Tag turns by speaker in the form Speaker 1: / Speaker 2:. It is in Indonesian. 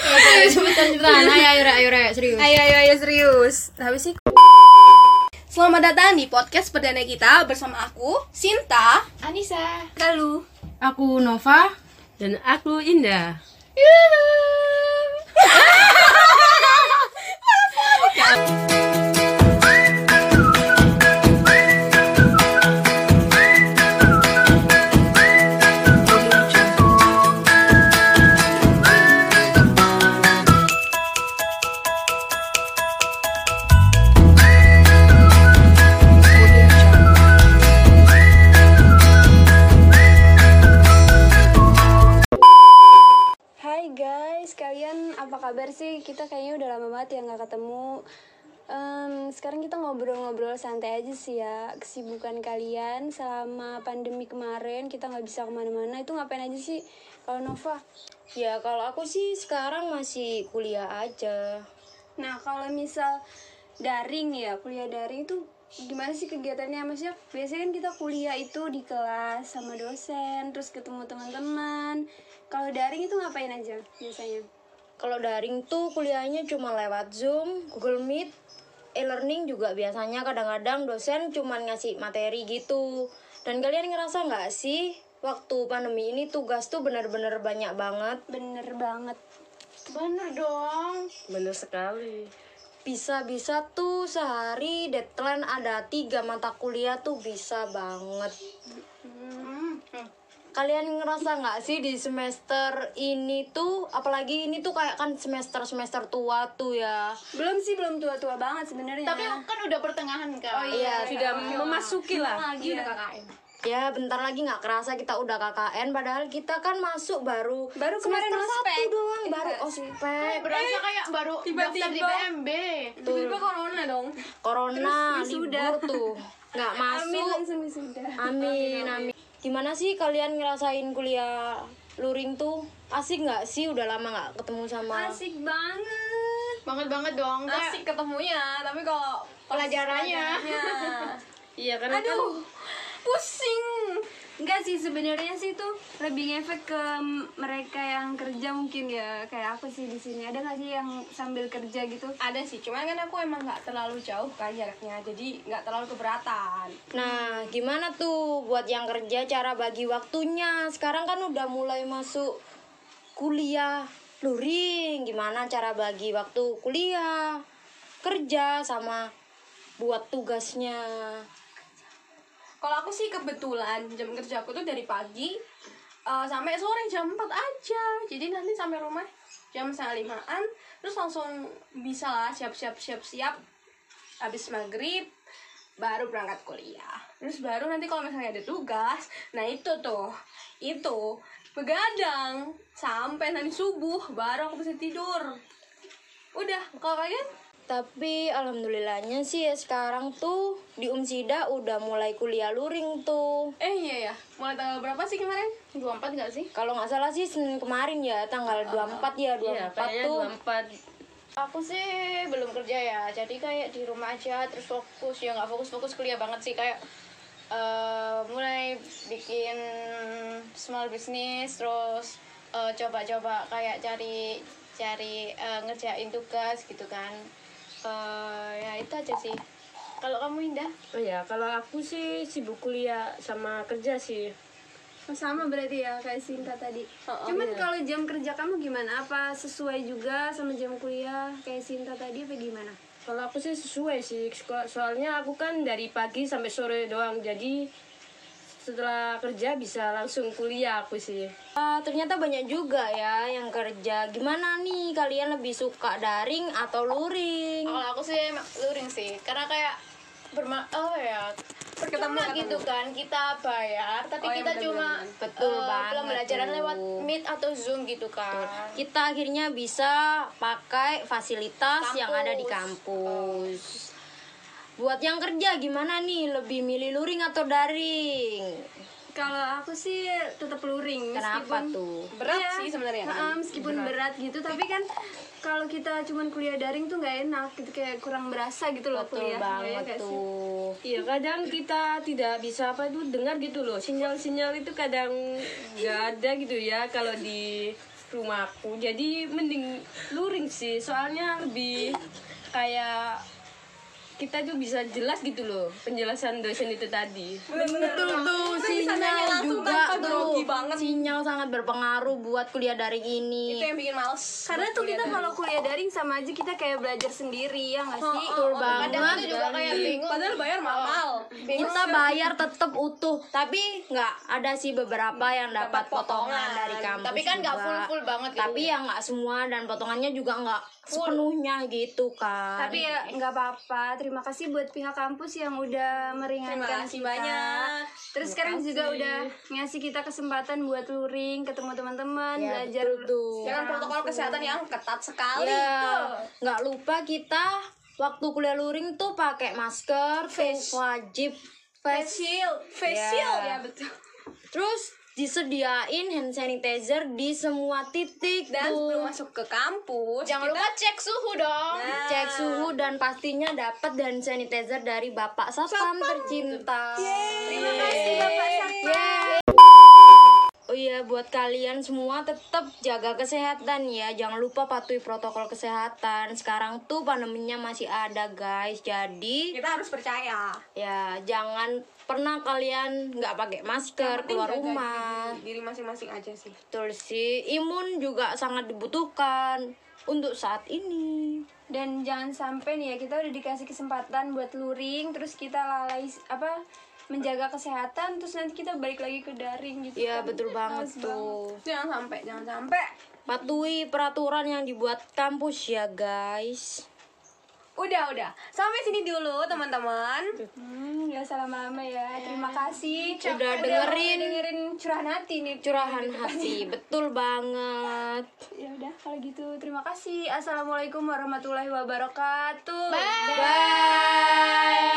Speaker 1: Ayo cepetan-cepetan. Ayo ayo ayo ayo serius.
Speaker 2: Ayo ayo ayo serius. Habis sih. Selamat datang di podcast perdana kita bersama aku, Sinta,
Speaker 1: Anissa.
Speaker 2: Lalu.
Speaker 3: Aku Nova.
Speaker 4: Dan aku Indah.
Speaker 5: Hai guys, kalian apa kabar sih? Kita kayaknya udah lama banget ya nggak ketemu. Em, sekarang kita ngobrol-ngobrol santai aja sih ya kesibukan kalian selama pandemi kemarin kita nggak bisa kemana-mana itu ngapain aja sih kalau Nova?
Speaker 6: Ya kalau aku sih sekarang masih kuliah aja.
Speaker 5: Nah kalau misal daring ya kuliah daring itu gimana sih kegiatannya maksudnya biasanya kan kita kuliah itu di kelas sama dosen terus ketemu teman-teman kalau daring itu ngapain aja biasanya
Speaker 6: Kalau daring tuh kuliahnya cuma lewat Zoom, Google Meet, e-learning juga biasanya kadang-kadang dosen cuma ngasih materi gitu. Dan kalian ngerasa nggak sih waktu pandemi ini tugas tuh benar-benar banyak banget?
Speaker 5: bener banget
Speaker 4: Bener sekali.
Speaker 6: Bisa-bisa tuh sehari deadline ada tiga mata kuliah tuh bisa banget. Kalian ngerasa nggak sih di semester ini tuh, apalagi ini tuh kayak kan semester-semester tua tuh ya.
Speaker 5: belum sih belum tua-tua banget sebenarnya
Speaker 1: Tapi kan udah pertengahan kan. Oh
Speaker 7: Ya,
Speaker 6: Iya,
Speaker 4: Sudah memasuki lah.
Speaker 5: Iya,
Speaker 1: Lagi udah KKN.
Speaker 6: ya bentar lagi nggak kerasa kita udah KKN, padahal kita kan masuk baru
Speaker 5: Baru kemarin
Speaker 6: semester
Speaker 5: ospek.
Speaker 6: satu doang,
Speaker 5: Iya
Speaker 6: baru
Speaker 5: nggak sih?
Speaker 6: ospek,
Speaker 1: Berasa kayak baru
Speaker 3: tiba-tiba.
Speaker 1: daftar di PMB.
Speaker 2: Tiba-tiba corona dong.
Speaker 6: corona, libur tuh, nggak
Speaker 5: amin
Speaker 6: masuk.
Speaker 5: langsung wisuda
Speaker 6: Amin, amin. Gimana sih kalian ngerasain kuliah luring tuh? Asik nggak sih? Udah lama nggak ketemu sama
Speaker 5: asik banget
Speaker 1: Banget banget dong. Kayak
Speaker 2: Asik ketemunya, tapi kalau
Speaker 1: pelajarannya.
Speaker 4: Iya karena kan
Speaker 5: aduh pusing Enggak sih sebenarnya sih itu lebih ngefek ke m- mereka yang kerja mungkin ya kayak aku sih di sini ada nggak sih yang sambil kerja gitu
Speaker 2: ada sih, cuman kan aku emang nggak terlalu jauh kan jaraknya, jadi nggak terlalu keberatan.
Speaker 6: Nah, gimana tuh buat yang kerja cara bagi waktunya? Sekarang kan udah mulai masuk kuliah luring. Gimana cara bagi waktu kuliah, kerja sama buat tugasnya?
Speaker 2: Kalau aku sih kebetulan jam kerja aku tuh dari pagi eh, sampai sore jam 4 aja. Jadi nanti sampai rumah jam setengah limaan, terus langsung bisa lah siap-siap siap-siap habis maghrib baru berangkat kuliah. Terus baru nanti kalau misalnya ada tugas, nah itu tuh itu begadang sampai nanti subuh baru aku bisa tidur. Udah, kalau kalian
Speaker 6: Tapi alhamdulillahnya sih ya sekarang tuh di Umsida udah mulai kuliah luring tuh.
Speaker 2: eh iya ya, mulai tanggal berapa sih kemarin? 24 nggak sih?
Speaker 6: Kalau nggak salah sih Senin kemarin ya tanggal 24 ya,
Speaker 4: Ah,
Speaker 6: 24
Speaker 4: iya kayaknya
Speaker 6: tuh.
Speaker 4: 24
Speaker 7: Aku sih belum kerja ya, jadi kayak di rumah aja terus fokus ya nggak fokus-fokus kuliah banget sih kayak eh, mulai bikin small business terus eh, coba-coba kayak cari cari eh, ngerjain tugas gitu kan Eh, ya itu aja sih. Kalau kamu Indah?
Speaker 4: Oh ya, kalau aku sih sibuk kuliah sama kerja sih.
Speaker 5: sama berarti ya kayak Sinta tadi
Speaker 2: Oh,
Speaker 5: cuman
Speaker 2: iya.
Speaker 5: kalau jam kerja kamu gimana apa sesuai juga sama jam kuliah kayak Sinta tadi apa gimana
Speaker 4: Kalau aku sih sesuai sih, so- soalnya aku kan dari pagi sampai sore doang, jadi setelah kerja bisa langsung kuliah aku sih.
Speaker 6: Ah, ternyata banyak juga ya yang kerja. Gimana nih kalian lebih suka daring atau luring?
Speaker 7: Kalau aku sih emang luring sih, karena kayak berma oh ya percuma gitu kan kita bayar tapi kita cuma
Speaker 6: Betul
Speaker 7: eh,
Speaker 6: banget
Speaker 7: pembelajaran
Speaker 6: tuh.
Speaker 7: lewat meet atau zoom gitu kan
Speaker 6: Kita akhirnya bisa pakai fasilitas yang ada di kampus. Buat yang kerja gimana nih? Lebih milih luring atau daring?
Speaker 5: kalau aku sih tetap luring
Speaker 6: Kenapa
Speaker 5: meskipun-
Speaker 6: tuh?
Speaker 2: Berat
Speaker 5: Iya.
Speaker 2: sih sebenarnya.
Speaker 5: Ha-ha, meskipun berat. gitu tapi kan kalau kita cuman kuliah daring tuh nggak enak gitu kayak kurang berasa gitu loh kuliah
Speaker 6: Betul
Speaker 4: ya
Speaker 6: banget tuh.
Speaker 4: Iya, kadang kita tidak bisa apa itu dengar gitu loh, sinyal-sinyal itu kadang nggak ada gitu ya kalau di
Speaker 8: rumahku jadi mending luring sih soalnya lebih kayak kita tuh bisa jelas gitu loh penjelasan dosen itu tadi
Speaker 6: Betul tuh sinyal juga tuh sinyal sangat berpengaruh buat kuliah daring ini.
Speaker 7: itu yang bikin males
Speaker 5: Karena tuh kita kalau kuliah daring sama aja kita kayak belajar sendiri ya nggak sih?
Speaker 8: Oh,
Speaker 6: Betul banget.
Speaker 9: kadang itu juga kayak bingung
Speaker 7: padahal bayar mahal
Speaker 6: kita bayar tetap utuh tapi nggak ada sih beberapa yang dapat potongan dari kampus
Speaker 9: Tapi kan nggak
Speaker 6: juga.
Speaker 9: full-full banget gitu.
Speaker 6: tapi ya nggak semua dan potongannya juga nggak sepenuhnya gitu kan
Speaker 5: Tapi ya nggak apa-apa. Terima kasih buat pihak kampus yang udah meringankan
Speaker 7: kasih
Speaker 5: kita.
Speaker 7: banyak.
Speaker 5: Terus sekarang juga udah ngasih kita kesempatan buat luring, ketemu teman-teman, kan
Speaker 8: Ya,
Speaker 5: belajar
Speaker 6: Ya, tuh.
Speaker 7: dengan protokol kesehatan yang ketat sekali
Speaker 6: Ya, nggak lupa kita waktu kuliah luring tuh pakai masker face wajib face
Speaker 7: shield face shield ya betul
Speaker 6: terus disediain hand sanitizer di semua titik
Speaker 7: dan
Speaker 6: tuh.
Speaker 7: sebelum masuk ke kampus
Speaker 9: jangan
Speaker 7: kita
Speaker 9: lupa cek suhu dong
Speaker 6: cek suhu dan pastinya dapat hand sanitizer dari Bapak Satpam tercinta. Terima kasih Bapak Satpam. Oh iya, buat kalian semua tetap jaga kesehatan ya. Jangan lupa patuhi protokol kesehatan. Sekarang tuh pandeminya masih ada, guys. Jadi,
Speaker 7: kita harus percaya
Speaker 6: ya jangan pernah kalian nggak pakai masker keluar
Speaker 7: Jaga
Speaker 6: rumah.
Speaker 7: diri- diri masing-masing aja sih
Speaker 6: Betul sih. Imun juga sangat dibutuhkan untuk saat ini.
Speaker 5: dan jangan sampai nih ya kita udah dikasih kesempatan buat luring, terus kita lalai apa menjaga kesehatan, terus nanti kita balik lagi ke daring gitu.
Speaker 6: Iya,
Speaker 5: kan.
Speaker 6: betul banget
Speaker 5: Males
Speaker 6: tuh.
Speaker 7: jangan sampai jangan sampai
Speaker 6: patuhi peraturan yang dibuat kampus ya guys
Speaker 7: udah udah sampai sini dulu teman-teman
Speaker 5: Hmm, gak usah lama-lama ya. Terima kasih.
Speaker 6: Udah dengerin.
Speaker 5: dengerin curahan hati nih.
Speaker 6: curahan hati betul banget
Speaker 5: Ya udah kalau gitu terima kasih. Assalamualaikum warahmatullahi wabarakatuh.
Speaker 6: bye